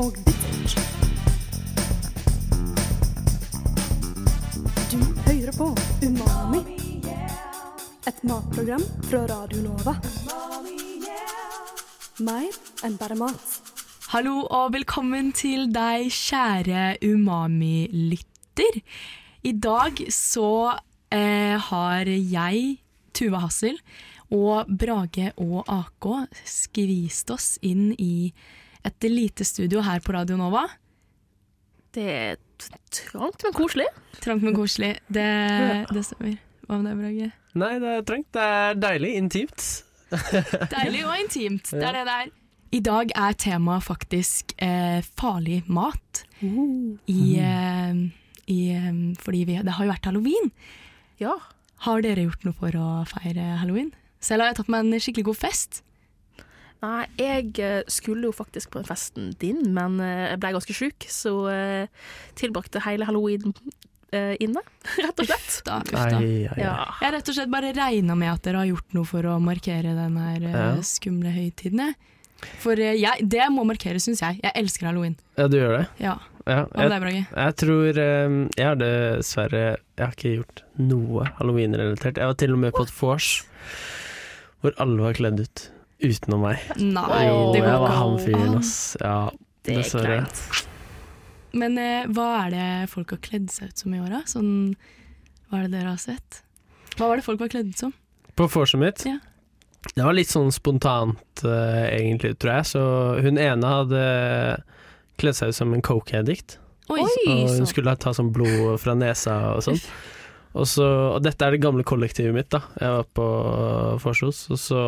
og butikk. Du hører på Umami. Et matprogram fra Radio Nova. Mer enn bare mat. Hallo og velkommen til deg, kjære Umami-lytter. I dag så eh, har jeg, Tuva Hassel, og Brage og AK skvist oss inn i et lite studio her på Radio Nova. Det er t- trangt, men koselig. Trangt, men koselig. Det, det stemmer. Hva med deg, Brage? Nei, det er trangt. Det er deilig. Intimt. Deilig og intimt. Det er det det er. I dag er temaet faktisk eh, farlig mat. Uh. I, eh, i, eh, fordi vi, det har jo vært halloween. Ja. Har dere gjort noe for å feire halloween? Selv har jeg tatt meg en skikkelig god fest. Nei, jeg eh, skulle jo faktisk på den festen din, men eh, jeg ble ganske sjuk, så eh, tilbrakte hele halloween eh, inne, rett og slett. Da, uff da. Ja. Jeg har rett og slett bare regna med at dere har gjort noe for å markere den her eh, Ja. skumle høytiden. jeg. For eh, jeg, det må markeres, syns jeg. Jeg elsker halloween. Ja, du gjør det? Ja. Ja. Hva med Jeg, deg, Brage? jeg tror eh, Jeg har dessverre Jeg har ikke gjort noe halloween-relatert. Jeg var til og med på et vors hvor alle var kledd ut utenom meg. Nei, Jo, det går jeg var ikke han fyren, an. ass. Ja, Det er dessverre. kleint. Men eh, hva er det folk har kledd seg ut som i åra? Sånn, hva er det dere har sett? Hva var det folk var kledd ut som? På vorset mitt? Ja. Det var litt sånn spontant, eh, egentlig, tror jeg. Så hun ene hadde eh, kledd seg ut som en coke addict, Oi! og Oi, hun sånn. skulle ta sånn blod fra nesa og sånn. Og, så, og dette er det gamle kollektivet mitt, da. Jeg var på Forsos, og så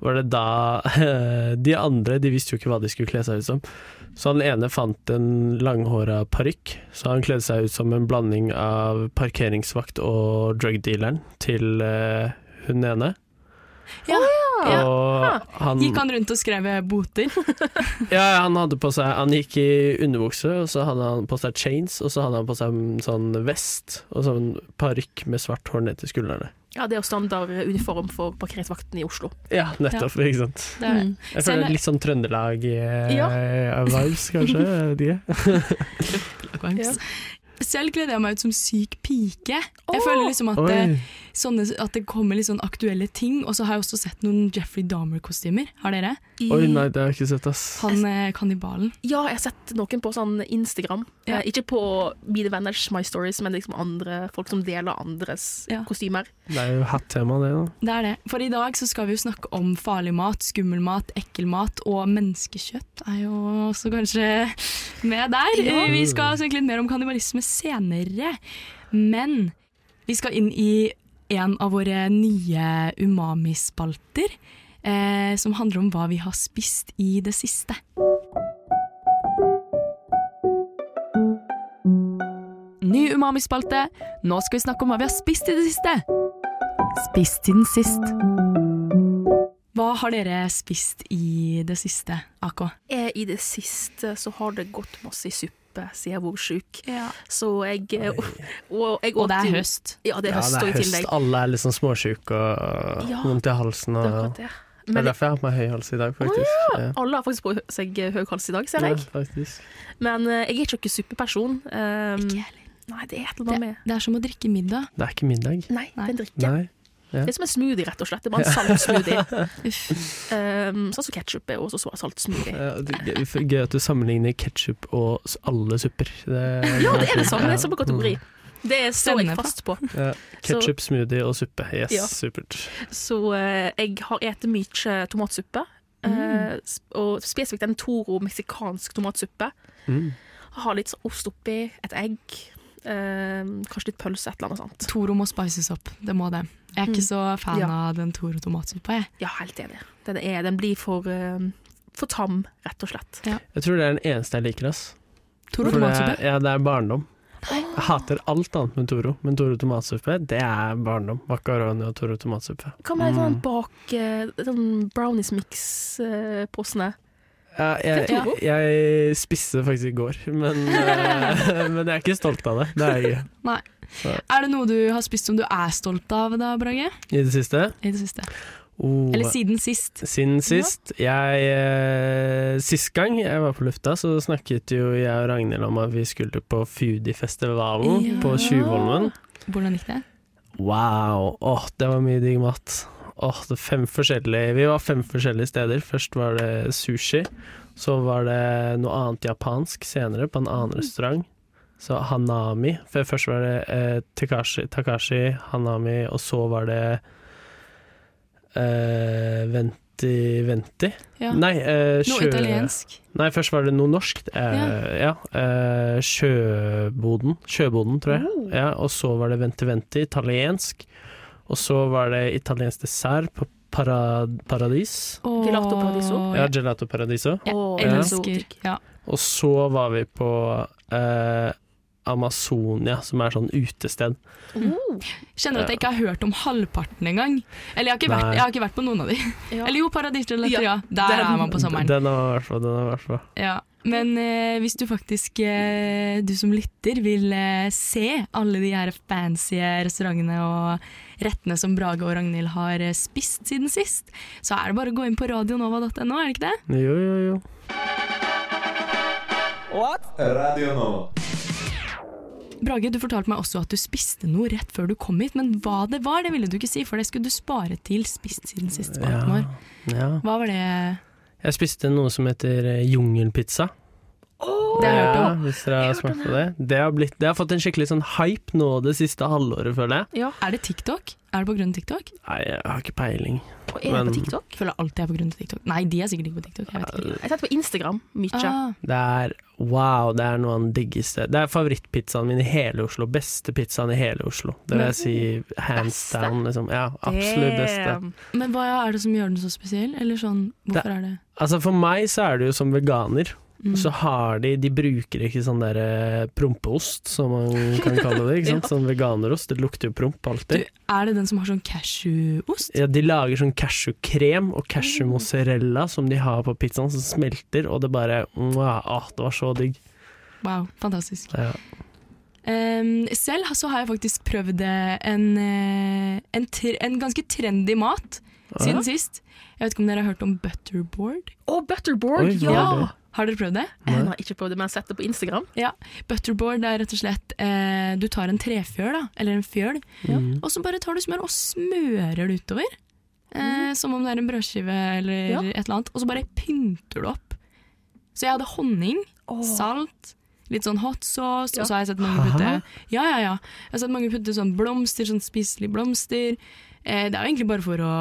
var det da De andre de visste jo ikke hva de skulle kle seg ut som. Så han ene fant en langhåra parykk, så han kledde seg ut som en blanding av parkeringsvakt og drugdealeren til eh, hun ene. Ja. Ja. Og han, Sånn, Gikk han rundt og skrev eh, boter? ja, han hadde på seg Han gikk i underbukse, og så hadde han på seg chains, og så hadde han på seg en sånn vest og sånn parykk med svart hår ned til skuldrene. Ja, det er jo standard uniform for parkeringsvakten i Oslo. Ja, nettopp, ikke sant. Det er, Mm. Jeg Selv- føler litt sånn Ja. Trøndelag-vibes, kanskje. jeg vet ikke. Akvangs. Selv kledde jeg meg ut som syk pike. Jeg føler liksom at, det, eh, Oi. sånne, at det kommer litt sånn aktuelle ting. Og så har jeg også sett noen Jeffrey Dahmer-kostymer. Har dere? I, Oi, nei, det har jeg ikke sett, ass. Han eh, kannibalen. Ja, jeg har sett noen på sånn Instagram. Ja. Eh, ikke på mine venners My Stories, men liksom andre folk som deler andres Ja. kostymer. Det er jo hatt-tema, det. da. Det er det. For i dag så skal vi jo snakke om farlig mat, skummel mat, ekkel mat og menneskekjøtt er jo også kanskje med der. Eh, Vi skal snakke litt mer om kannibalisme senere. Men vi skal inn i en av våre nye umamispalter. Eh, som handler om hva vi har spist i det siste. Ny umami-spalte. Nå skal vi snakke om hva vi har spist i det siste. Spist siden sist. Hva har dere spist i det siste, AK? Eh, I det siste så har det gått masse i suppe siden jeg var sjuk. Så jeg eh, Og, jeg Og åt det jo- er høst. Ja, det er Ja, høst det og er i tillegg. høst. Alle er litt sånn småsjuke og Ja. vondt i halsen. Det Og... er akkurat det. Det er Men derfor jeg har på meg høy hals i dag, faktisk. Ja. alle har faktisk på seg høy hals i dag, ser Ja, jeg. faktisk. Men eh, jeg er ikke noen suppeperson. Um, Mm. nei, det er et eller annet med Det er som å drikke middag. Det er ikke middag. Nei, det er en drikke. Nei. Det er som en smoothie, rett og slett. Det er bare en salt smoothie. Uff. um, sånn som ketsjup er også så- salt smoothie. Ja, Eh, det er gøy- Gøy at du sammenligner ketsjup og s- alle supper. Ja, det er det samme. Det er samme kategori. Mm. Det står Stemmer jeg på. fast på. Ketsjup, Mm. smoothie og suppe. Yes, Ja. supert. Så eh, jeg har spist mye tomatsuppe. eh, sp- og spesifikt en Toro meksikansk tomatsuppe. Mm. Har litt sånn ost oppi, et egg, eh, kanskje litt pølse, et eller annet sånt. Toro må spices opp, det må det. Jeg er ikke så fan Ja. av den Toro tomatsuppa, jeg. Ja, helt enig. Den, er, den blir for, eh, for tam, rett og slett. Jeg tror det er den eneste jeg liker, ass. Toro For det er, tomatsuppe? ja, det er barndom. Ah, Jeg hater alt annet med Toro, men Toro tomatsuppe, det er barndom. Makaroni og Toro tomatsuppe. Hva med Mm. sånn bak eh, sånn eh, brownies-mix-posene? Ja, jeg, Det er jeg, jeg spiste det faktisk i går, men, eh, men jeg er ikke stolt av det. Det er jeg ikke. Er det noe du har spist som du er stolt av da, Brage? I det siste I det siste. Oh, Eller siden sist. Siden sist jeg, eh, Sist gang jeg var på lufta, så snakket jo jeg og Ragnhild om at vi skulle på Foodiefestivalen Ja. på Tjuvholmen. Hvordan gikk det? Wow! Åh, det var mye digg mat. Åh, det er fem forskjellige Vi var fem forskjellige steder. Først var det sushi. Så var det noe annet japansk senere, på en annen Mm. restaurant. Så Hanami. For først var det eh, Takashi, Takashi, Hanami, og så var det eh, Venti Venti? Ja. Nei, eh, Noe sjø- italiensk. Nei, først var det noe norsk. Eh, ja. eh, sjøboden. Sjøboden, tror jeg. Ja, og så var det Venti Venti, italiensk. Og så var det italiensk dessert på para, Paradis. Og... Gelato Paradiso. Ja, Gelato Paradiso. Jeg Åh, elsker eksotisk. ja. Og så var vi på eh, Amazonia, som er sånn utested. Mm. Oh. Kjenner at jeg ikke har hørt om halvparten engang. Eller jeg har ikke vært, Nei. jeg har ikke vært på noen av de. Ja. Eller jo, Paradisgelato, ja. Ja, Der den- er man på sommeren. Den har i hvert fall- den har i hvert fall. Ja, men eh, hvis du faktisk, eh, du som lytter, vil eh, se alle de her fancy restaurantene og rettene som Brage og Ragnhild har eh, spist siden sist, så er det bare å gå inn på radionova.no, er det ikke det? Jo, jo, jo. Radio Nova. Brage, du fortalte meg også at du spiste noe rett før du kom hit, men hva det var, det ville du ikke si, for det skulle du spare til spist siden sist spalten Ja. vår. ja. Hva var det? Jeg spiste noe som heter eh, jungelpizza. Det har jeg hørt Ja, hvis dere har smakt på det. Det har, blitt, det har fått en skikkelig sånn hype nå det siste halvåret, føler jeg. Er det TikTok? Er det på grunn av TikTok? Nei, jeg har ikke peiling. Og er det Men- på TikTok? Føler alltid jeg er på grunn av TikTok. Nei, de er sikkert ikke på TikTok, jeg vet ikke. Jeg tenkte på Instagram. Mykje. Ah, Det er wow, det er noe av den diggeste Det er favorittpizzaen min i hele Oslo. Beste pizzaen i hele Oslo. Det vil jeg si hands Beste. down, liksom. Ja, absolutt beste. Damn. men hva er det som gjør den så spesiell? Eller sånn, hvorfor er det Altså For meg så er det jo som veganer. Mm. Så har de De bruker ikke sånn der eh, prompeost, som man kan kalle det. Ikke sant? Sånn veganerost. Det lukter jo promp Du, alltid. er det den som har sånn cashewost? Ja, de lager sånn cashewkrem og Mm. cashewmozzarella som de har på pizzaen, som smelter, og det bare mwah, ah, Det var så digg. Wow, fantastisk. Ja. Ehm, selv så har jeg faktisk prøvd eh, en, eh, en, tr en ganske trendy mat siden sist. Jeg vet ikke om dere har hørt om butterboard? Å, Butterboard! Oi, hva er ja! det? Har dere prøvd det? Jeg har ikke prøvd det, men jeg har sett det på Instagram. Ja. Butterboard er rett og slett eh, Du tar en trefjøl, da, eller en fjøl, Mm. og så bare tar du smør og smører det utover. Eh, som om det er en brødskive eller Ja. et eller annet. Og så bare pynter du opp. Så jeg hadde honning. salt, litt sånn hot sauce, og så har jeg sett mange putte Ja, ja, ja. Jeg har sett mange putte sånn blomster, sånn spiselige blomster. Eh, det er jo egentlig bare for å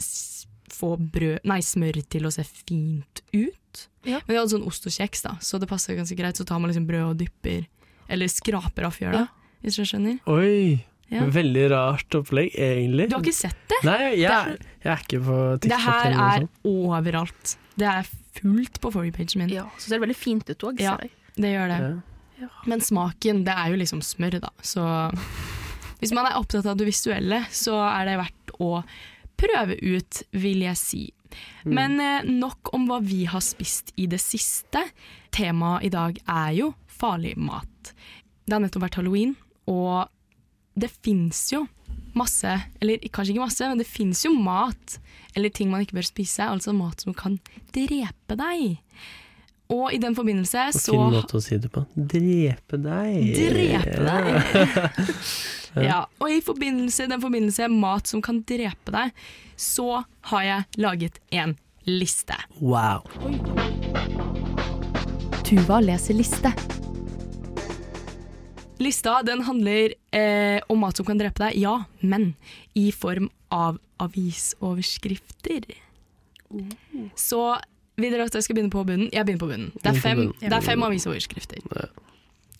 s få brød, nei, smør til å se fint ut. Ja. Men jeg hadde sånn ost og kjeks, da, så det passer ganske greit. Så tar man liksom brød og dypper, eller skraper av fjøla, Ja. hvis du skjønner. Oi! Ja. Veldig rart opplegg, egentlig. Du har ikke sett det? Nei, jeg, jeg er ikke på TikTok. sånn. Det her eller noe er sånt. overalt. Det er fullt på forrige-pagen min. Ja, Så ser det veldig fint ut òg, Ja. ser jeg. Det gjør det. Ja. Men smaken, det er jo liksom smør, da. Så hvis man er opptatt av det visuelle, så er det verdt å prøve ut, vil jeg si. Men eh, nok om hva vi har spist i det siste. Temaet i dag er jo farlig mat. Det har nettopp vært halloween, og det fins jo masse, eller kanskje ikke masse, men det fins jo mat, eller ting man ikke bør spise, altså mat som kan drepe deg. Og i den forbindelse så Fin måte å si det på. Drepe deg. Drepe deg! ja, og i forbindelse, den forbindelse mat som kan drepe deg, så har jeg laget en liste. Wow. Tuva leser liste. Lista den handler eh, om mat som kan drepe deg, ja, men i form av avisoverskrifter. Så vil dere at jeg skal begynne på bunnen? Jeg begynner på bunnen. Det er Begynn på fem, bunnen. det er fem avisoverskrifter.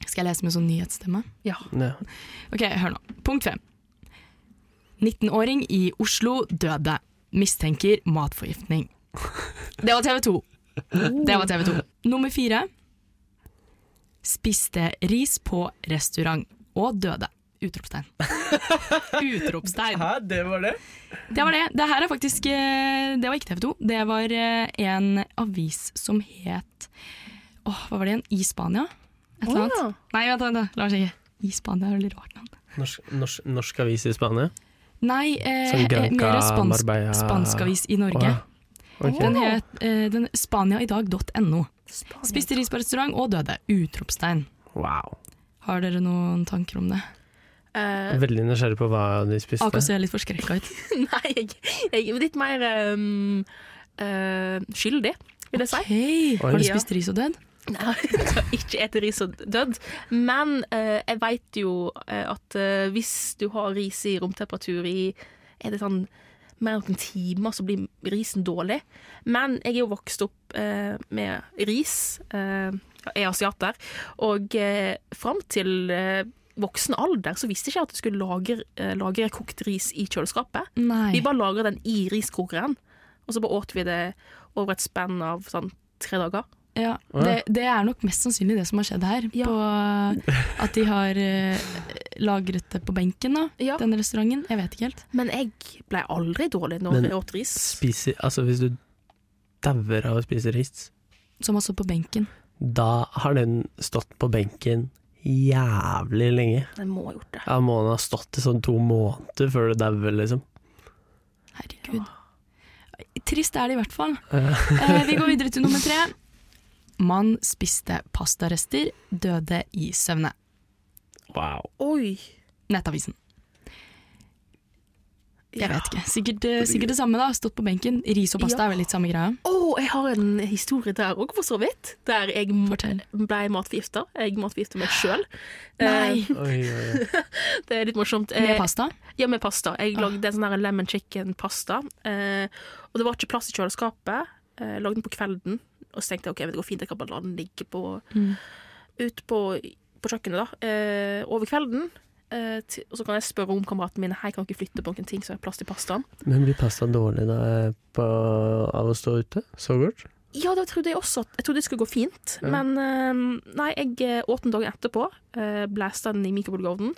Skal jeg lese med sånn nyhetsstemme? Ja. Ok, hør nå. Punkt fem. 19-åring i Oslo døde. Mistenker matforgiftning. Det var TV 2. Det var TV 2. Nummer fire. Spiste ris på restaurant og døde. Utropstegn. Utropstegn. Hæ, det var det? Det var det. Det her er faktisk eh, Det var ikke TV 2. Det var eh, en avis som het Åh, hva var det igjen? I Spania? Et eller annet? Nei, vent, vent, vent. la meg sjekke. I Spania er veldig rart navn. Norsk, norsk, norsk avis i Spania? Nei, eh, Sånn eh, Granca, mer spansk, Marbella spanskavis i Norge. Å, ja. Ok. Den het eh, den spaniaidag.no. Spiste ris på restaurant og døde. Utropstegn. Wow. Har dere noen tanker om det? Eh, Veldig nysgjerrig på hva de spiste. Aka ser litt forskrekka ut. nei, jeg, jeg er litt mer ehm, eh, skyldig, vil jeg si. Hei, Oi. har du Ja. spist ris og dødd? Nei, jeg skal ikke ete ris og dødd. Men eh, jeg veit jo eh, at eh, hvis du har ris i romtemperatur i er det sånn mer enn noen timer, så blir risen dårlig. Men jeg er jo vokst opp eh, med ris. eh, jeg er asiater. Og eh, fram til eh, voksen alder så visste ikke jeg at du skulle lagre, eh, lagre kokt ris i kjøleskapet. Vi Nei. bare lagra den i riskrokeren, og så bare åt vi det over et spenn av sånn tre dager. Ja, Å, ja. det, det er nok mest sannsynlig det som har skjedd her. Ja. På, at de har eh, lagret det på benken, da. Ja. Den restauranten. Jeg vet ikke helt. Men jeg ble aldri dårlig når Men- jeg åt ris. Spiser, altså, hvis du dauer av å spise ris, Som har stått på benken. da har den stått på benken jævlig lenge. Jeg må ha gjort det. Ja, må den ha stått i sånn to måneder før du dauer, liksom. Herregud. Trist er det i hvert fall. Eh, vi går videre til nummer tre. Mann spiste pastarester, døde i søvne. Wow. Oi! Nettavisen. Jeg Ja. vet ikke. Sikkert, eh, sikkert det samme, da. Stått på benken. Ris og pasta Ja. er vel litt samme greia. Å, jeg har en historie der òg, for så vidt. Der jeg m- Fortell. ble matforgifta. Jeg matforgifta meg sjøl. Nei. Oi, oi, oi. Det er litt morsomt. Med Eh, pasta. Ja, med pasta. Jeg lagde en sånn her lemon chicken-pasta. Eh, og det var ikke plass i kjøleskapet. Eh, jeg lagde den på kvelden, og så tenkte jeg ok, det går fint, jeg kan bare la den ligge på Mm. ut på, på kjøkkenet da, eh, over kvelden. Eh, til, og så kan jeg spørre romkameratene mine Hei, kan dere flytte på noen ting så jeg har plass til pastaen. Men blir pasta dårlig da, eh, på, av å stå ute så godt? Ja, det trodde jeg også. at- Jeg trodde det skulle gå fint. Ja. Men eh, nei, jeg eh, åt den dagen etterpå. Eh, Blæsta den i mikrobølgeovnen.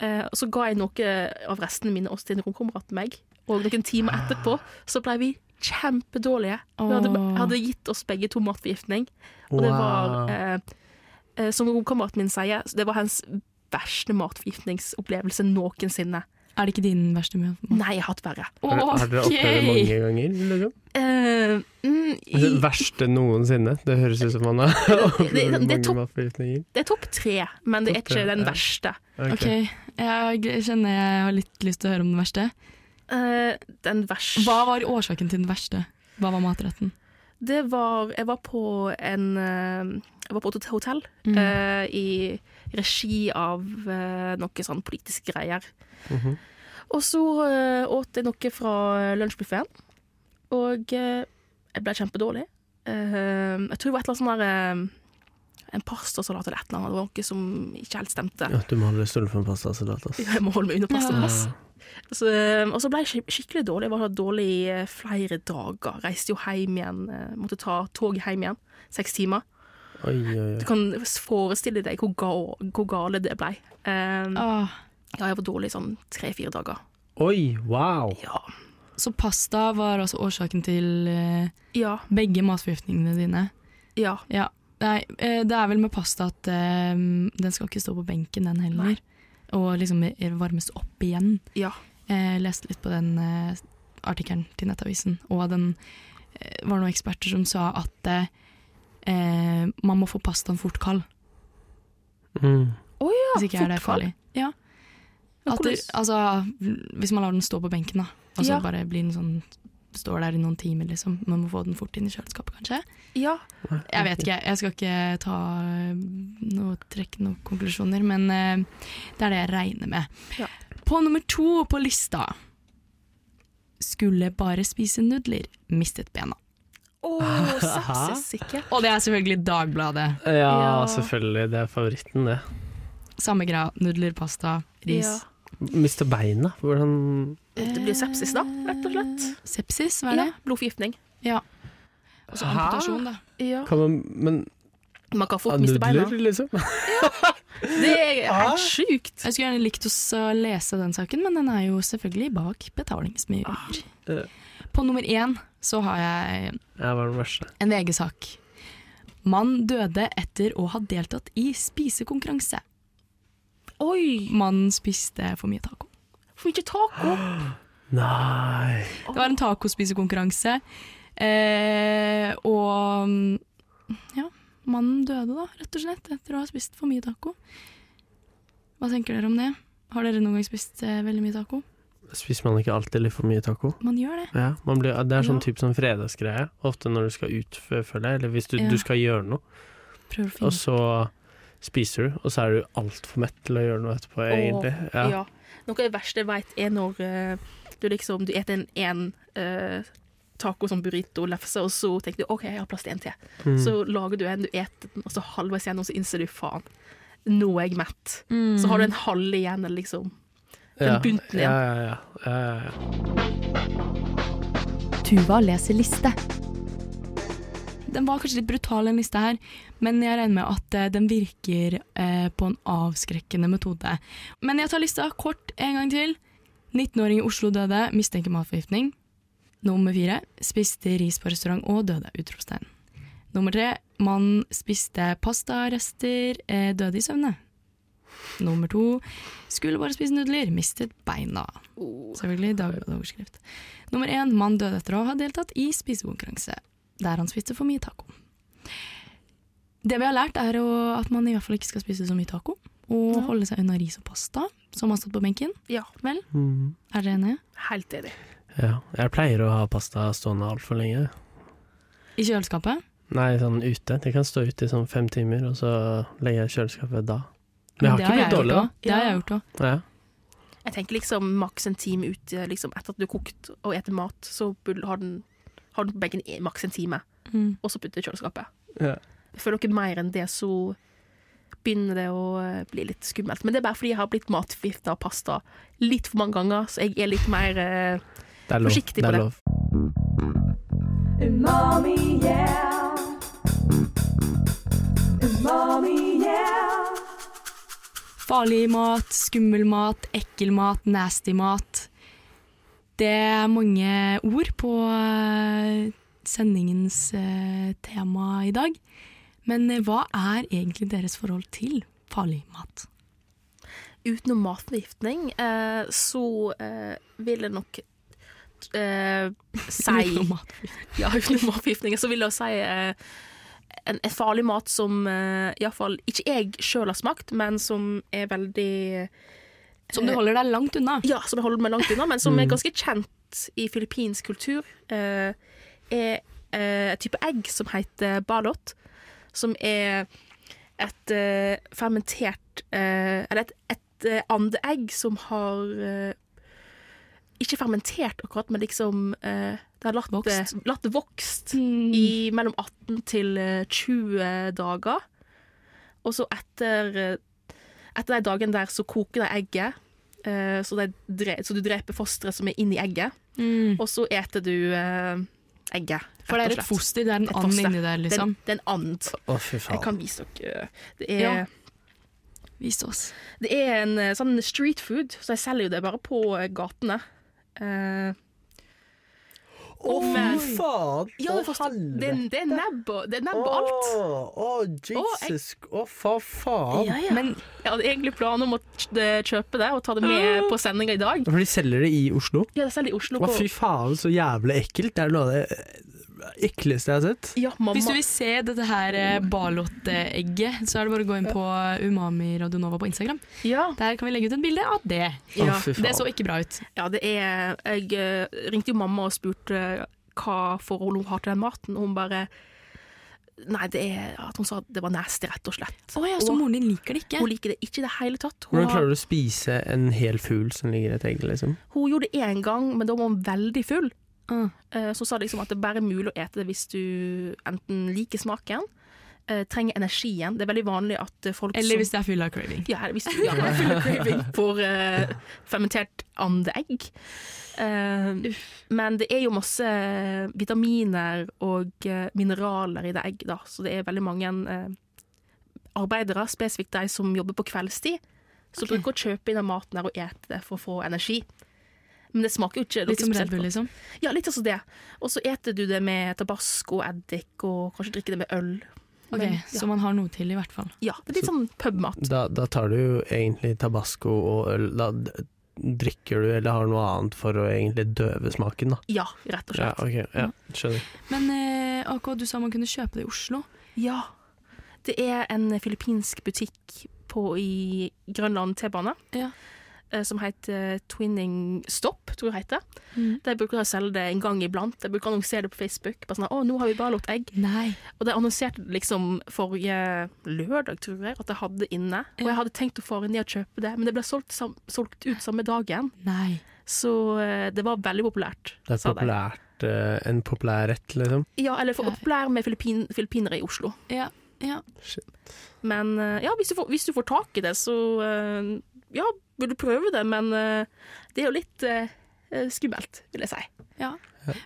Eh, og så ga jeg noe av restene mine også til en romkamerat med meg. Og noen timer Ah. etterpå så ble vi kjempedårlige. Vi hadde, Åh. hadde gitt oss begge to matforgiftning. Og det var, eh, eh, som romkameraten min sier, det var hans verste matforgiftningsopplevelse noensinne. Er det ikke din verste mjø? Nei, jeg har hatt verre. Har, har dere opplevd det mange ganger? Liksom? Eh, mm, Det i, verste noensinne. Det høres ut som man har det er opplevd mange topp- matforgiftninger. det er topp tre, men det er Topp tre, ikke den ja. verste. Ok, jeg g- kjenner jeg har litt lyst til å høre om den verste. Eh, den verste Hva var årsaken til den verste? Hva var matretten? Det var Jeg var på en eh, Jeg var på et hotell Mm. eh, i regi av eh, noe sånn politiske greier. Mhm. Og så eh, åt jeg noe fra lunsjbuffeen, og eh, jeg ble kjempedårlig. Eh, jeg tror det var et eller annet sånn der eh, En pastasalat eller et eller annet. Det var noe som ikke helt stemte. Ja, du må holde stolen for en pastasalat, ass. Jeg må holde meg unna Eh, pasta. Ja. ass. Så, eh, og så ble jeg skik- skikkelig dårlig. Jeg var dårlig i eh, flere dager. Reiste jo hjem igjen. eh, Måtte ta toget hjem igjen. Seks timer. Oi, oi, oi. Du kan forestille deg hvor, ga hvor gale det ble. Eh, Ah, ja, jeg var dårlig i sånn tre-fire dager. Oi, wow! Ja. så pasta var altså årsaken til eh, Ja. begge matforgiftningene dine? Ja. Ja. Nei, eh, det er vel med pasta at eh, den skal ikke stå på benken, den heller. Og liksom eh, varmes opp igjen. Ja. Jeg leste litt på den eh, artikkelen til Nettavisen, og den eh, var noen eksperter som sa at eh, eh, man må få pastaen fort kald. Mm. Hvis ikke er det fort kald? farlig. Ja. Men At det, hvordan- altså, hvis man lar den stå på benken, da, og så Ja. bare blir den sånn Står der i noen timer, liksom. Man må få den fort inn i kjøleskapet, kanskje. ja. Jeg vet ikke, jeg skal ikke ta eh, noe, trekke noen konklusjoner, men eh, det er det jeg regner med. Ja. På nummer to på lista skulle bare spise nudler, mistet bena. Å, Hæ? sepsis, ikke? Og det er selvfølgelig Dagbladet. Ja, Ja. selvfølgelig. Det er favoritten, det. Samme greia, nudler, pasta, ris. Ja. Miste beina? Hvordan Det blir sepsis, da, rett og slett. Eh, Sepsis, hva er det? Ja. Blodforgiftning. Ja. Og så Altså, Sånn amputasjon, da. Ja. Kan man Men Man kan av fort miste beina. nudler, liksom? Det Ah. er helt sjukt. Jeg skulle gjerne likt oss å lese den saken, men den er jo selvfølgelig bak betalingsmur. Eh, På nummer én så har jeg Ja, hva er det verste? En VG-sak. Mann døde etter å ha deltatt i spisekonkurranse. Oi! Mannen spiste for mye taco. For mye taco! Nei Det var en tacospisekonkurranse. Eh, og mm, ja, mannen døde da, rett og slett, etter å ha spist for mye taco. Hva tenker dere om det? Har dere noen gang spist eh, veldig mye taco? Spiser man ikke alltid litt for mye taco? Man gjør det. Ja, man blir, det er sånn Ja. typ sånn fredagsgreie, ofte når du skal ut, fø- føler jeg, eller hvis du, Ja. du skal gjøre noe, Prøver å finne og så spiser du, og så er du altfor mett til å gjøre noe etterpå, egentlig. Ja. Ja. Noe av det verste jeg vet er når eh, du liksom Du eter en én taco som burrito lefse, og så tenker du OK, jeg har plass til en til. Mm. Så lager du en, du eter den, og så halvveis igjennom så innser du faen, nå er jeg mett. Så Mm. har du en halv igjen, eller liksom. den ja. bunten igjen. Ja, ja, ja. ja, ja, ja. Tuva leser liste. Den var kanskje litt brutal, den lista her, men jeg regner med at eh, den virker eh, på en avskrekkende metode. Men jeg tar lista kort en gang til. 19-åring i Oslo døde, mistenker matforgiftning. Nummer fire, spiste ris på restaurant og døde, utropstegn. Nummer tre, mann spiste pastarester, eh, døde i søvne. Nummer to, skulle bare spise nudler, mistet beina. Oh. Selvfølgelig dagbladoverskrift. Nummer én, mann døde etter å ha deltatt i spisekonkurranse der han spiste for mye taco. Det vi har lært, er å, at man i hvert fall ikke skal spise så mye taco. Og holde seg unna ris og pasta, som har stått på benken. Ja, Vel, Mm. er dere enige? helt enig. ja. Jeg pleier å ha pasta stående altfor lenge. I kjøleskapet? Nei, sånn ute. Det kan stå ute i sånn fem timer, og så legger jeg i kjøleskapet da. Men jeg har Det ikke jeg blitt gjort dårlig, da. også. Det har jeg gjort òg. Ja. Jeg tenker liksom maks en time ut eh, liksom, etter at du har kokt og eter mat, så burde- har den, har den på benken i maks en time, Mm. og så putter du i kjøleskapet. Ja. Føler dere mer enn det, så begynner det å eh, bli litt skummelt. Men det er bare fordi jeg har blitt matforgifta av pasta litt for mange ganger, så jeg er litt mer eh, Det er lov. Forsiktig det på er det. lov. Umami, yeah. Umami, yeah. Farlig mat, skummel mat, ekkel mat, nasty mat. Det er mange ord på eh, sendingens eh, tema i dag. Men eh, hva er egentlig deres forhold til farlig mat? utenom matforgiftning, eh, så eh, vil jeg nok eh, si Utenom mat. Ja, utenom matforgiftning, så vil jeg si eh, en, en farlig mat som eh, iallfall ikke jeg sjøl har smakt, men som er veldig Som du holder deg langt unna. Eh, Ja, som jeg holder meg langt unna, men som er ganske kjent i filippinsk kultur, eh, er eh, et type egg som heter balot, som er et eh, fermentert eh, Eller et, et eh, andeegg som har eh, Ikke fermentert akkurat, men liksom eh, Det har latt, Vokst. det- latt det vokst Mm. i mellom 18 til eh, 20 dager. Og så etter, eh, etter de dagene der så koker de egget, eh, så, de dre så du dreper fosteret som er inni egget, Mm. og så eter du eh, egget. For det rett er og et slett. foster, det er en Et and foster. inni der, Det er liksom. en- det er en and. Å, fy Jeg faen. kan vise dere. eh, Det er, Ja. Vis oss. det er en eh, sånn street food, så de selger jo det bare på eh, gatene. Eh, Å, Men- fy faen! ja, det, er Å, foster- det, er- det er nebb og det er nebb og alt. Å, å, Jesus Å, for faen! Ja, ja. Men jeg hadde egentlig planen om å kj- det- kjøpe det og ta det med på sendinga i dag. For de selger det i Oslo? Ja, det selger i Oslo Å, på fy faen, så jævlig ekkelt. Det er noe av det eh, ekleste jeg har sett. ja, mamma. Hvis du vil se dette her eh, balottegget, så er det bare å gå inn på Umami Radionova på Instagram. Ja, Der kan vi legge ut et bilde av det. ja. fy Det så ikke bra ut. ja, det er Jeg eh, ringte jo mamma og spurte eh, hva forhold hun har til den maten, og hun bare Nei, det er at hun sa at det var nasty, rett og slett. Å ja, så Og- moren din liker det ikke? Hun liker det ikke i det hele tatt. Hun, Hvordan klarer du å spise en hel fugl som ligger i et egg, liksom? har- hun gjorde det én gang, men da var hun veldig full. Ah. Eh, Så hun sa liksom at det er bare mulig å ete det hvis du enten liker smaken, eh, trenger energien. Det er veldig vanlig at eh, folk Eller som hvis det er full av craving. Ja, hvis du ja, har full craving for eh, fermentert andeegg. Eh, men det er jo masse eh, vitaminer og eh, mineraler i det egg, da. så det er veldig mange eh, arbeidere, spesifikt de som jobber på kveldstid, som bruker å kjøpe inn den maten her og ete det for å få energi. Men det smaker jo ikke noe Litt som Red spesielt Bull, godt. liksom. Ja, litt sånn som det. Og så eter du det med tabasco og eddik, og kanskje drikker det med øl. liksom. Ok, Men, ja, Så man har noe til, i hvert fall. ja, det er litt sånn pubmat. Da, da tar du jo egentlig tabasco og øl da, d- drikker du eller har noe annet for å egentlig døve smaken, da. Ja, rett og Ja, slett. ok, ja, skjønner. Men eh, AK, du sa man kunne kjøpe det i Oslo. Ja. Det er en filippinsk butikk på, i Grønland T-bane Ja. eh, som heter Twinning Stop, tror jeg det heter. Mm. De bruker å selge det en gang iblant. De bruker å annonsere det på Facebook. Bare sånn, 'Å, nå har vi bare lått egg.' Nei. Og de annonserte det liksom forrige lørdag, tror jeg, at de hadde det inne. Og Ja. jeg hadde tenkt å fare ned og kjøpe det, men det ble solgt, sam solgt ut samme dagen. Nei. Så eh, det var veldig populært, Det er sa de. populært, eh, en populær rett, liksom. Ja, eller for populær med filippin filippinere i Oslo. Ja. ja. Men eh, ja, hvis du får, hvis du får tak i det, så eh, ja, burde du prøve det. Men eh, det er jo litt eh, eh, skummelt, vil jeg si.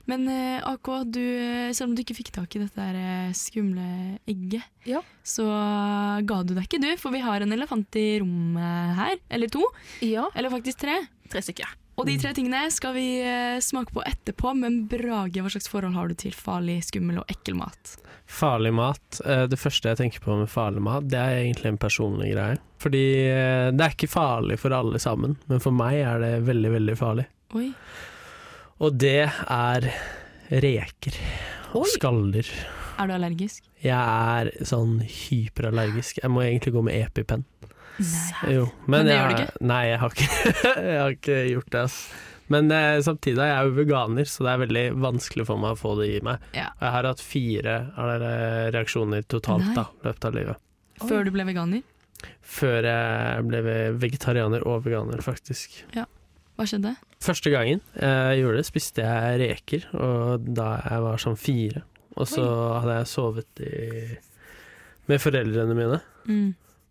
Men eh, AK, du, eh, selv om du ikke fikk tak i dette der, eh, skumle egget, Ja. så eh, ga du deg ikke, du. For vi har en elefant i rommet her. Eller to. Ja. Eller faktisk tre. Tre stykker. Og de tre tingene skal vi eh, smake på etterpå, men Brage, hva slags forhold har du til farlig, skummel og ekkel mat? Farlig mat. Eh, Det første jeg tenker på med farlig mat, det er egentlig en personlig greie. Fordi eh, det er ikke farlig for alle sammen, men for meg er det veldig, veldig farlig. Oi. Og det er reker og skalldyr. Er du allergisk? Jeg er sånn hyperallergisk. Jeg må egentlig gå med EpiPen. Nei. Jo, Men det jeg, gjør du ikke? Nei, jeg har ikke, jeg har ikke gjort det. Ass. Men eh, samtidig er jeg jo veganer, så det er veldig vanskelig for meg å få det i meg. Ja. Og jeg har hatt fire av dere reaksjoner totalt Nei. da, i løpet av livet. Før du ble veganer? Før jeg ble vegetarianer og veganer, faktisk. Hva skjedde? Første gangen jeg gjorde det, spiste jeg reker, og da jeg var sånn fire. Og så hadde jeg sovet i, med foreldrene mine. Mm.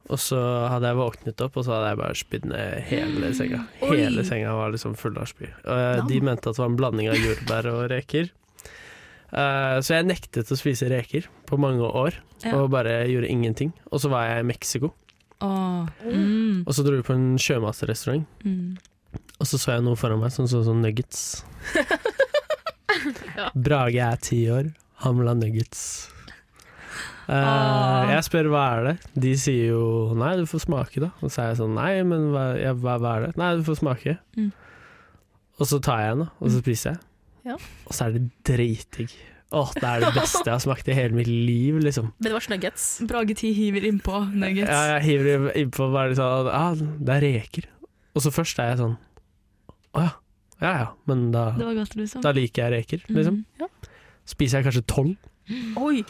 Og så hadde jeg våknet opp, og så hadde jeg bare spydd ned hele senga. Oi. Hele senga var liksom full av spy. Og eh, de Nam. mente at det var en blanding av jordbær og reker. Eh, så jeg nektet å spise reker på mange år, Ja. og bare gjorde ingenting. Og så var jeg i Mexico, Åh. Mm. og så dro vi på en sjømatrestaurant. Mm. Og så så jeg noe foran meg som så sånn nuggets. Brage er ti år, han vil ha nuggets. Eh, Ah. jeg spør hva er det. De sier jo nei, du får smake da. Og så er jeg sånn nei, men hva, ja, hva, hva er det? Nei, du får smake. Mm. Og så tar jeg en, da, og så spiser jeg. Ja. Og så er det dritdigg. Åh, det er det beste jeg har smakt i hele mitt liv, liksom. Men det var ikke nuggets. Brage 10 hiver innpå nuggets. Ja, jeg hiver det innpå og bare sånn ah, Det er reker. Og så først er jeg sånn Å ja. Ja ja, men da, Det var godt, liksom. da liker jeg reker, liksom. Mm. Spiser jeg kanskje tolv, Oi!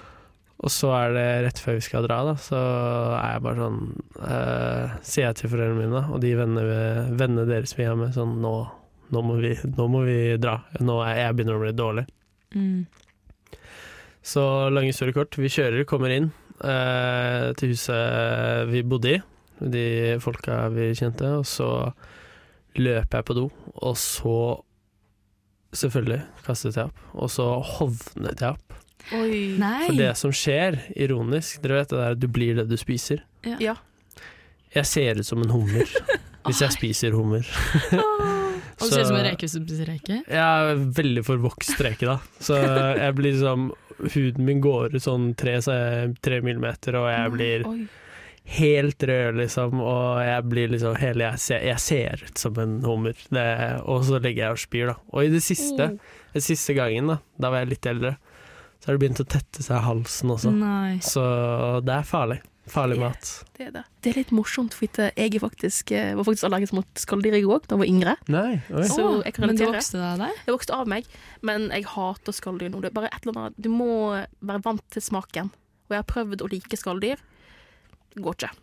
og så er det rett før vi skal dra, da, så er jeg bare sånn eh, Sier jeg til foreldrene mine og de vennene vennene deres vi er med, sånn nå, nå, må vi, nå må vi dra. Nå er jeg begynner å bli dårlig. Mm. Så lange historier kort. Vi kjører, kommer inn eh, til huset vi bodde i, de folka vi kjente, og så løper jeg på do, og så Selvfølgelig kastet jeg opp, og så hovnet jeg opp. Oi. Nei! For det som skjer, ironisk, dere vet det der du blir det du spiser. Ja. Jeg ser ut som en hummer hvis jeg spiser hummer. Og det ser ut som en reke hvis du spiser reke. Jeg er veldig forvokst reke, da. Så jeg blir liksom Huden min går ut sånn tre, tre millimeter, og Mm. jeg blir Oi. helt rød, liksom. Og jeg blir liksom hele Jeg ser, jeg ser ut som en hummer. Det, og så legger jeg og spyr, da. Og i det siste, Mm. den siste gangen, da, da var jeg litt eldre, så har det begynt å tette seg i halsen også. Mm. Nei. Så det er farlig. Farlig mat. Det er det. Det er litt morsomt, for at jeg er faktisk, eh, var faktisk allergisk mot skalldyr i går da jeg var yngre. Nei, oi. Så Åh, jeg kan men du relatere. vokste deg der? Jeg vokste av meg, men jeg hater skalldyr nå. Det er bare et eller annet. Du må være vant til smaken. Og jeg har prøvd å like skalldyr. Det går ikke.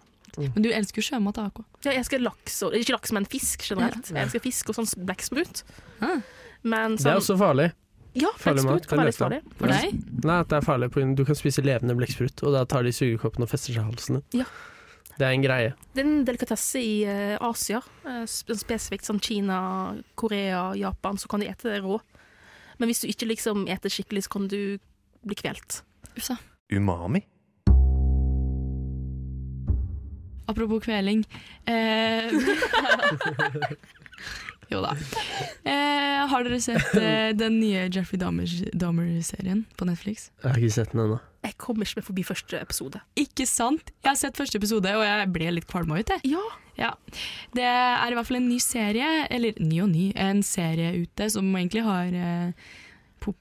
Men du elsker jo sjømat, AK. Ja, jeg elsker laks og Ikke laks, men fisk generelt. Jeg elsker fisk og sånn blekksprut. Ah. Men Det er sånn også farlig. Ja, farlig mat. blekksprut kan være litt Kan farlig. For deg? Nei, at det er farlig på grunn Du kan spise levende blekksprut, og da tar de sugekoppen og fester seg i halsen din. Ja. Det er en greie. Det er en delikatesse i eh, Asia. eh, sp- spesifikt sånn Kina, Korea, Japan, så kan de ete det rå. Men hvis du ikke liksom eter skikkelig, så kan du bli kvelt. Ufsa. Umami? Apropos kveling. Eh, Jo da. Eh, har dere sett eh, den nye Jeffrey Dahmer- Dahmer-serien på Netflix? Jeg har ikke sett den ennå. Jeg kom ikke meg forbi første episode. Ikke sant? Jeg har sett første episode, og jeg ble litt kvalma ut, jeg. Ja, Ja. Det er i hvert fall en ny serie, eller ny og ny, en serie ute som egentlig har eh,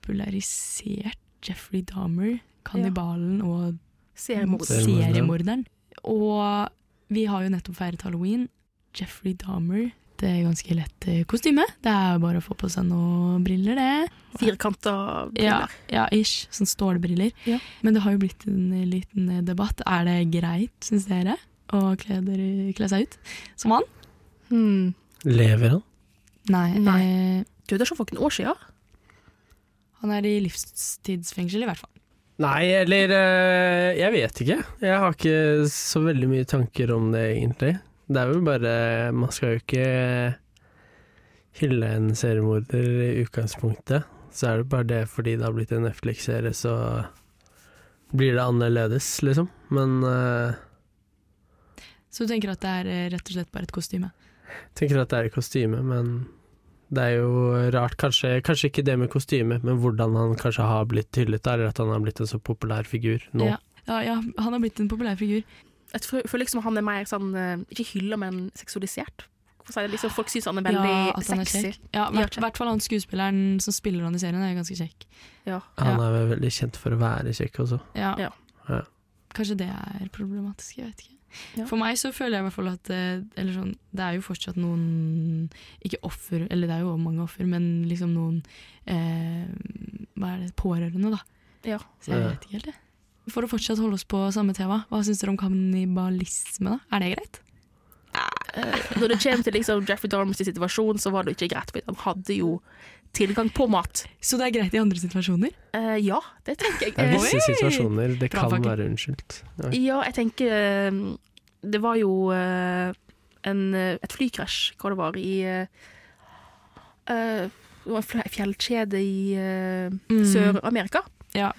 popularisert Jeffrey Dahmer, kannibalen og seriemord. Se- seriemorderen. Og vi har jo nettopp feiret halloween. Jeffrey Dahmer. Det er ganske lett eh, kostyme. Det er bare å få på seg noen briller, det. Firkanta Ja, briller. ja, ish. Sånn stålbriller. Ja. Men det har jo blitt en eh, liten debatt. Er det greit, syns dere, å kle, dere, kle seg ut som han? Hmm. Lever han? Nei. Nei. Eh, Du, det er så for noen år siden. han er i livstidsfengsel, i hvert fall. Nei, eller eh, Jeg vet ikke. Jeg har ikke så veldig mye tanker om det, egentlig. Det er vel bare Man skal jo ikke hylle en seriemorder i utgangspunktet. Så er det bare det fordi det har blitt en Netflix-serie, så blir det annerledes, liksom. Men eh, Så du tenker at det er eh, rett og slett bare et kostyme? jeg tenker at det er i kostyme, men det er jo rart. Kanskje, kanskje ikke det med kostyme, men hvordan han kanskje har blitt hyllet, da, eller at han har blitt en så populær figur nå. Ja. Ja, ja, han har blitt en populær figur. Jeg tror- føler liksom han er mer sånn eh, Ikke hylla, men seksualisert. Hvorfor sier jeg det? Liksom, folk syns han er veldig ja, at han er sexy. kjekk. Ja, Ja, hvert, kjekk. hvert fall han skuespilleren som spiller han i serien, er jo ganske kjekk. Ja. Han er vel veldig kjent for å være kjekk også. Ja. Ja. Ja. Kanskje det er problematisk, jeg vet ikke. Ja. For meg så føler jeg i hvert fall at eh, eller sånn, det er jo fortsatt noen Ikke offer, eller det er jo mange offer, men liksom noen eh, Hva er det pårørende, da. Ja. Så jeg Ja. vet ikke helt, jeg. For å fortsatt holde oss på samme tema, hva syns dere om kannibalisme, da? Er det greit? Eh, Når det kommer til liksom, Jeffrey Darmers situasjon, så var det ikke greit, for han hadde jo tilgang på mat. Så det er greit i andre situasjoner? Eh, ja, det tenker jeg. Det er Eh, visse Oi! situasjoner det kan Brannfakkel. være unnskyldt. Ja. Ja, jeg tenker eh, Det var jo eh, en, eh, et flykrasj, hva det var, i eh, eh, Det var en fl- fjellkjede i eh, Mm. Sør-Amerika. Ja.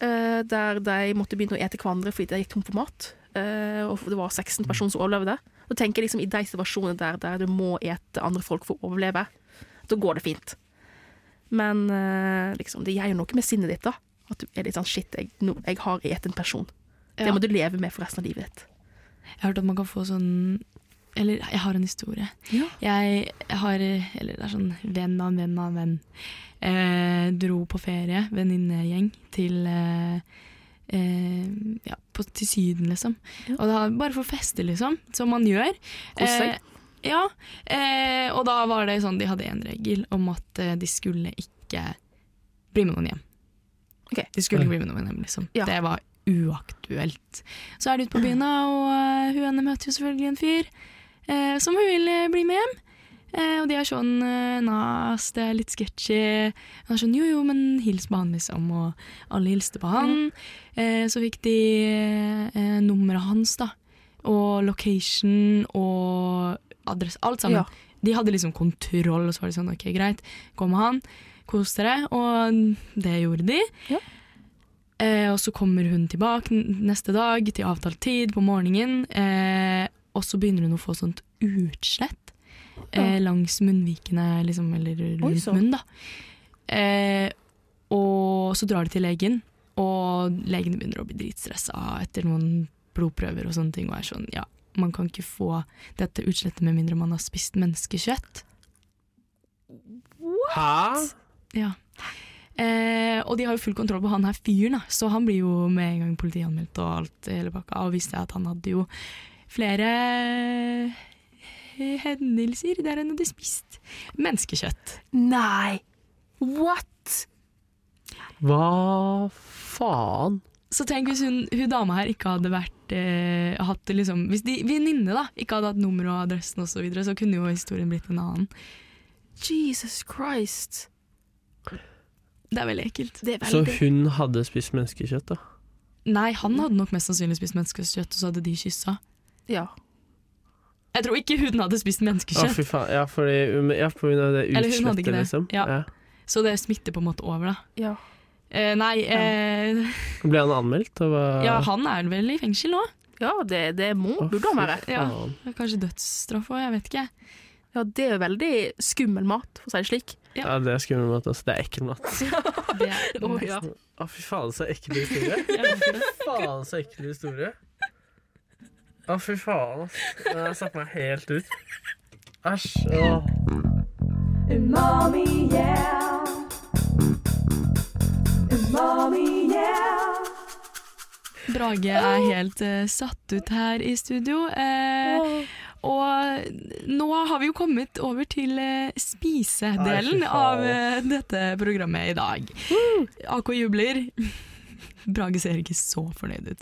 Eh, der de måtte begynne å ete hverandre fordi de gikk tom for mat. Eh, og det var Mm. 16 personer som overlevde. Da tenker jeg liksom i de situasjonene der, der du må ete andre folk for å overleve, da går det fint. Men eh, liksom, det gjør jo noe med sinnet ditt, da. At du er litt sånn shit, jeg, nå, jeg har et en person. Ja. Det må du leve med for resten av livet ditt. Jeg har hørt at man kan få sånn Eller jeg har en historie. Ja. Jeg har Eller det er sånn venn av en venn av en venn. Eh, dro på ferie, venninnegjeng, til eh, eh, ja, på, til Syden, liksom. Ja. Og da, bare for å feste, liksom, som man gjør. Kos deg. ja. Eh, og da var det sånn, de hadde en regel om at eh, de skulle ikke bli med noen hjem. Ok. De skulle ikke bli med noen hjem, liksom. Ja. Det var uaktuelt. Så er de ute på byen, da, og eh, hun ene møter jo selvfølgelig en fyr eh, som hun vil eh, bli med hjem. Eh, og de er sånn eh, Nas, det er litt sketchy. Han er sånn jo, jo, men hils på han, liksom. Og alle hilste på han. Eh, så fikk de eh, nummeret hans, da. Og location og adresse. Alt sammen. Ja. De hadde liksom kontroll, og så var det sånn OK, greit, gå med han, kos dere. Og det gjorde de. Ja. Eh, og så kommer hun tilbake n- neste dag til avtalt tid på morgenen, eh, og så begynner hun å få sånt utslett eh, langs munnvikene, liksom, eller Oi, rundt så. munnen, da. Eh, og så drar de til legen, og legen begynner å bli dritstressa etter noen blodprøver og sånne ting, og er sånn ja, man kan ikke få dette utslettet med mindre man har spist menneskekjøtt. Hæ? Ja. Eh, og de har jo full kontroll på han her fyren, da. så han blir jo med en gang politianmeldt og alt i hele pakka, og viste at han hadde jo flere hendelser der han hadde spist menneskekjøtt. Nei! What?! Hva faen? Så tenk hvis hun, hun dama her ikke hadde vært eh, hatt det liksom, Hvis de venninne da, ikke hadde hatt nummer og adressen osv., så, videre, så kunne jo historien blitt en annen. Jesus Christ. Det er veldig ekkelt. Det er Så veldig hun hadde spist menneskekjøtt, da? Nei, han hadde nok mest sannsynlig spist menneskekjøtt, og så hadde de kyssa. Ja. Jeg tror ikke hun hadde spist Å, menneskekjøtt, fy faen. Ja, fordi, um, ja, på grunn av det Eller hun hadde ikke utslettet, det. liksom. Ja. så det smitter på en måte over, da. ja. Eh, nei, eh, Ble han anmeldt? Og var... ja, han er vel i fengsel nå? ja det, det må, Å, burde han være. fy faen. Kanskje dødsstraff òg, jeg vet ikke. Ja, det er jo veldig skummel mat, for å si det slik. Ja. Ja, det er skummel mat. Altså. Det er ekkel mat. Det er den Å, beste. ja. Å, fy faen, så ekkel historie. Fy faen, så ekkel historie. Å, fy faen. ass. Det der satte meg helt ut. Æsj. åh. Umami, yeah. Umami, yeah. Brage er helt eh, satt ut her i studio. Eh, og nå har vi jo kommet over til eh, spisedelen Nei, fy faen. av eh, dette programmet i dag. AK jubler. Brage ser ikke så fornøyd ut.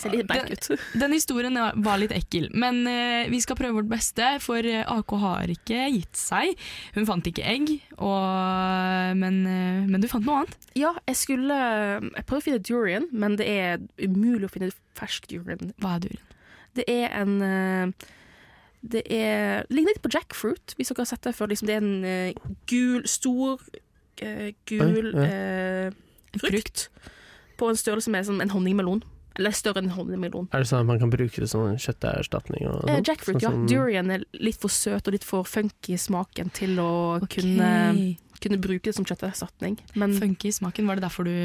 Ser litt blank blank ut. Den historien var litt ekkel, men eh, vi skal prøve vårt beste, for eh, AK har ikke gitt seg. Hun fant ikke egg, og, men, eh, men du fant noe annet. Ja, jeg skulle eh, Jeg prøver å finne durian, men det er umulig å finne fersk durian. Hva er duren? Det er en eh, Det er ligner litt på jackfruit, hvis dere har sett det før. Liksom, det er en eh, gul, stor, eh, Oi, gul ja. eh, frukt på en størrelse med som en honningmelon. Eller større enn en honningmelon. Er det sånn at man kan bruke det som en kjøtterstatning? og Eh, sånt? jackfruit, Sånn ja. som- Durian er litt for søt og litt for funky i smaken til å kunne, Kunne- kunne bruke det som kjøtterstatning. Men eh, Funky i smaken, var det derfor du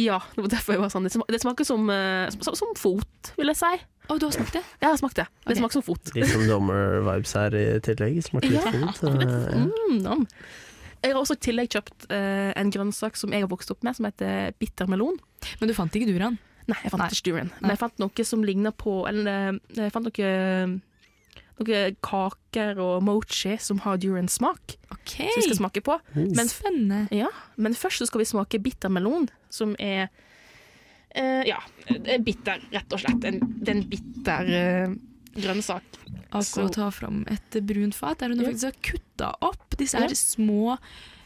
ja, det var derfor jeg var sånn. Det smaker, det smaker som, eh, som, som fot, vil jeg si. Å, du har smakt det? Jeg har smakt det. Det Ok. smaker som fot. Litt som dommer-vibes her i tillegg. Smaker litt Ja, fint. eh, Mm, nom. Jeg har også i tillegg kjøpt eh, en grønnsak som jeg har vokst opp med, som heter bittermelon. Men du fant ikke duran? Nei, jeg fant Nei. ikke durian. Nei. Men jeg fant noe som ligner på Eller eh, jeg fant noe noen kaker og mochi som har durian-smak, Ok, som vi skal smake på. Men spennende. Ja, men først så skal vi smake bittermelon, som er eh, Ja, det er bitter, rett og slett. En, det er en bitter eh, grønnsak. AK Så- tar fram et brunt fat der hun Ja. faktisk har kutta opp disse Ja. her små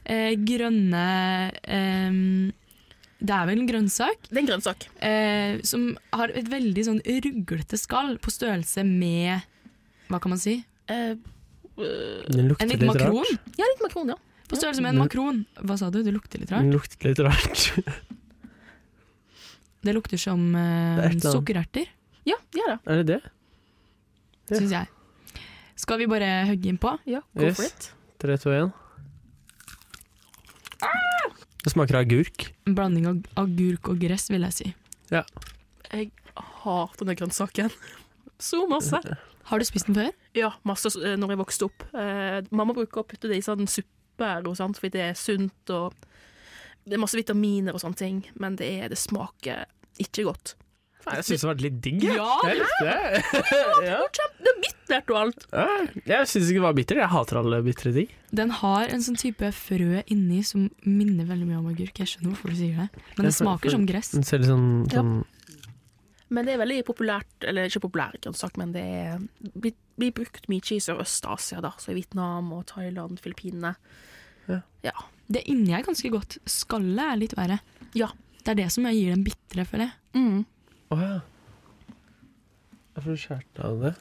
eh, grønne eh, Det er vel en grønnsak Det er en grønnsak. eh, som har et veldig sånn ruglete skall på størrelse med Hva kan man si? Eh, Den En lukter liten litt makron? rart. ja, litt makron, ja. På størrelse med en Mm. makron. Hva sa du? Det lukter litt rart? Den lukter litt rart. Det lukter som eh, Det er et eller annet. sukkererter, Ja, ja da. Er det det? Ja. syns jeg. Skal vi bare hogge innpå? Ja, go for Yes. it. 3, 2, 1. Det smaker agurk. En blanding av agurk og gress, vil jeg si. Hater denne grønnsaken. Så masse. Har du spist den før? Ja, masse eh, når jeg vokste opp. Eh, mamma bruker å putte det i sånn supper og sånt, fordi det er sunt og Det er masse vitaminer og sånne ting, men det, er, det smaker ikke godt. Jeg syns det var litt digg. jeg. Ja, jeg likte det. ja. Det er bittert og alt. Ja, Jeg syns ikke det var bitter. Jeg hater alle bitre ting. Den har en sånn type frø inni som minner veldig mye om agurk. Jeg skjønner hvorfor du sier det, men det Ja, for- for- smaker som gress. Den ser litt sånn, Ja. sånn Men det er veldig populært, eller ikke populær grønnsak, men det er, blir, blir brukt mye i Sørøst-Asia, da. Så i Vietnam og Thailand, Filippinene. Det inni er ganske godt. Skallet er litt verre. Ja. Det er det som gir den bitre, føler jeg. Mm. Å ja. Jeg får skjært av det.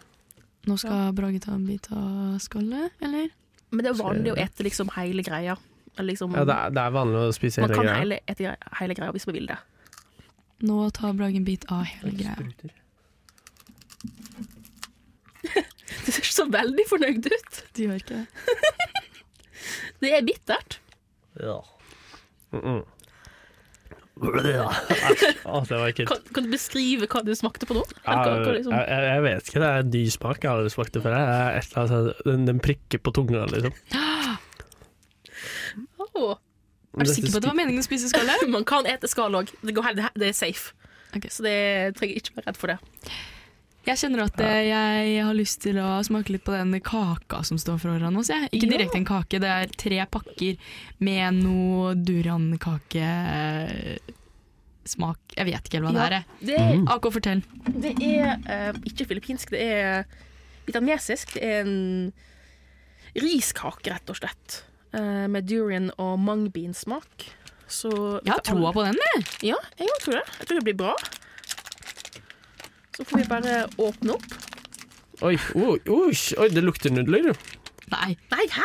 Nå skal Brage ta en bit av skallet, eller? Men det er Skal jeg vanlig å gjøre ete liksom hele greia. Eller liksom, Ja, det er, det er vanlig å spise man hele kan greia. hele, ete gre- hele greia hvis man vil det. Nå tar Brage en bit av hele greia. Det ser ikke så veldig fornøyd ut. Du gjør ikke det. Det er bittert. Ja. Mm -mm. Æsj. Å, det var ekkelt. Kan, kan du beskrive hva du smakte på nå? Eller hva- hva Jeg, liksom- jeg, jeg vet ikke, det er en ny smak. Jeg har aldri smakt det før. Det er et eller annet sånn- Den, den prikker på tunga, liksom. Åh. Er du sikker på at det var meningen å spise skallet? Man kan ete skall òg. Det, går helt- det- det er safe. Ok. Så det trenger jeg ikke være redd for det. Jeg kjenner at eh, jeg har lyst til å smake litt på den kaka som står foran oss. Jeg. Ikke Ja. direkte en kake, det er tre pakker med noe durankakesmak. Jeg vet ikke helt hva det Ja. her er. Det Mm. er AK, fortell. Det er eh, ikke filippinsk, det er vietnamesisk. Det er en riskake, rett og slett. eh, med durian og mangbean-smak. Så Jeg har troa på den. jeg. Ja, jeg også tror det. Jeg tror det blir bra. Så får vi bare åpne opp. Oi, oi, oi, oi, det lukter nudler. Nei, Nei, hæ?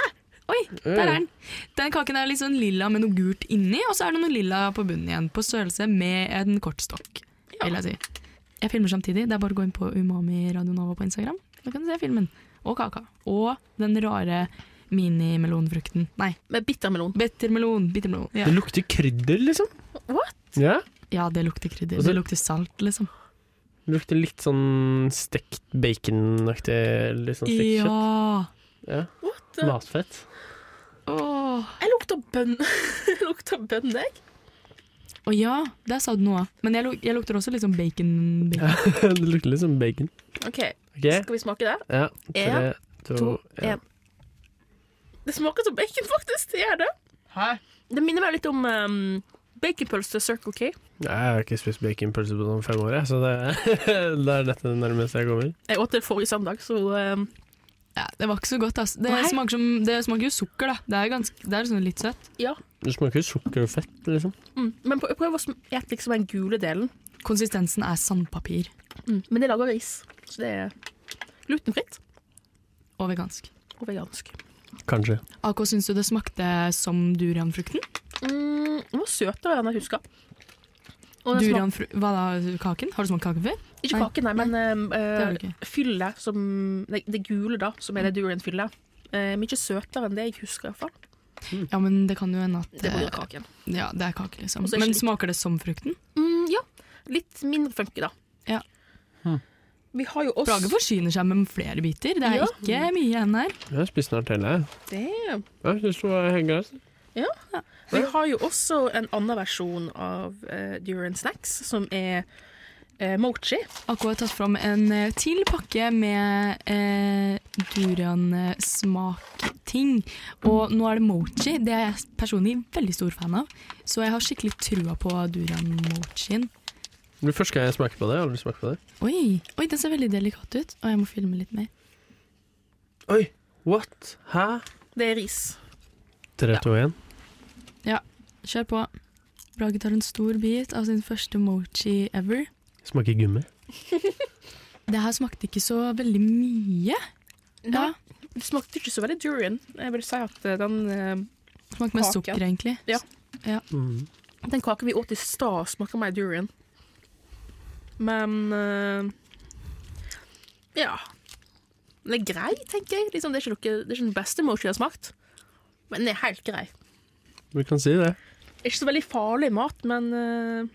oi, der er den. Den kaken er litt sånn lilla med noe gult inni, og så er det noe lilla på bunnen igjen. På størrelse med en kortstokk, vil jeg si. Jeg filmer samtidig. Det er bare å gå inn på Umami Radio Nova på Instagram. Da kan du se filmen. og kaka. Og den rare minimelonfrukten. Nei, Med bittermelon. bittermelon. bittermelon. Ja. Det lukter krydder, liksom. What? Ja. ja, det lukter krydder. Og så- Det lukter salt, liksom. Det lukter litt sånn stekt baconaktig. Litt sånn stekt kjøtt. Ja. Ja. What? Matfett. Åh. Jeg lukter bønn. jeg lukter bønn, jeg. Å ja, der sa du noe. Men jeg, lu- jeg lukter også litt sånn bacon. bacon. det lukter litt som bacon. OK, Ok, skal vi smake det? ja. E Tre, En, to, to, én. en. Det smaker som bacon, faktisk. Det gjør det. Det minner meg litt om um, baconpølse Circle K. Nei, Jeg har ikke spist baconpølse på sånn fem år, jeg, så det, det er dette det nærmeste jeg kommer. Jeg åt det forrige søndag, så um, Ja, det var ikke så godt, ass. Det Nei. smaker, som, det smaker jo sukker, da. Det er, ganske, det er sånn litt søtt. Det smaker jo sukker og fett, liksom. mm. Men prø- prøv å spise liksom den gule delen. Konsistensen er sandpapir Mm. Men det lager ris, så det er glutenfritt og vegansk. og vegansk. Kanskje. AK, syns du det smakte som durianfrukten? Mm, den var søtere enn jeg huska. Og den smaker, Durianfru hva da, kaken? Har du smakt kake før? ikke Nei. kaken, nei, men um, Det har du uh, ikke. fyllet som nei, Det gule, da, som er det durian-fyllet. Uh, mye søtere enn det jeg husker, i hvert fall. Ja, men det kan jo hende at Det blir eh, kaken. Ja, det er kake, liksom. Og så er det Men slik. smaker det som frukten? Mm, ja. Litt mindre funky, da. Ja. Vi har jo oss Brage forsyner seg med flere biter. Det er Ja. ikke mye igjen her. Jeg har spist snart hele. jeg. Damn. Jeg syns det altså. var helt greit. Vi har jo også en annen versjon av eh, Durian Snacks, som er eh, mochi. AK har tatt fram en eh, til pakke med eh, duriansmakting. Og nå er det mochi. Det er jeg personlig veldig stor fan av. Så jeg har skikkelig trua på durian-mochien. Det blir første gang jeg smaker på det. Jeg har aldri smakt på det. Oi, oi, den ser veldig delikat ut. Og jeg må filme litt mer. Oi, what? Hæ? Det er ris. Tre, to, én. Kjør på. Brage tar en stor bit av sin første mochi ever. Smaker gummi. Det her smakte ikke så veldig mye. Ja, Nei, Det smakte ikke så veldig durian. Jeg vil si at eh, den, eh, smakte med Kake. sukker, egentlig. Ja. Mm. den kaken vi åt i stad, smaker mer durian. Men eh, Ja. Den er grei, tenker jeg. Liksom, det, er ikke noe, det er ikke den beste mochi jeg har smakt, men den er helt grei. Vi kan si det. Det er ikke så veldig farlig mat, men eh,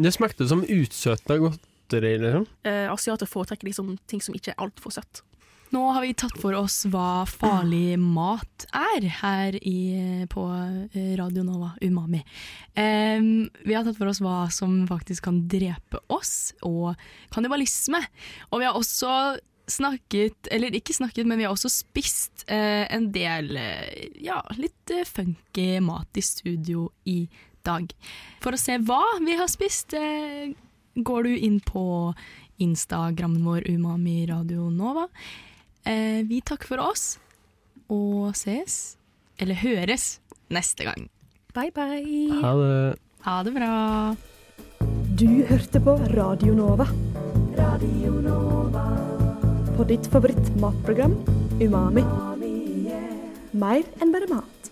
Det smakte som utsøta godteri, liksom. eh, asiater foretrekker liksom ting som ikke er altfor søtt. Nå har vi tatt for oss hva farlig mat er her i, på eh, Radio Nova Umami. Em, vi har tatt for oss hva som faktisk kan drepe oss, og kannibalisme. Og vi har også snakket, eller ikke snakket, men vi har også spist eh, en del eh, ja, litt eh, funky mat i studio i dag. For å se hva vi har spist, eh, går du inn på Instagrammen vår Umami Radio Nova. Eh, vi takker for oss, og ses, eller høres, neste gang. Bye, bye. Ha det. Ha det bra! Du hørte på Radio Nova. Radio Nova. På ditt favorittmatprogram Umami. Mer enn bare mat.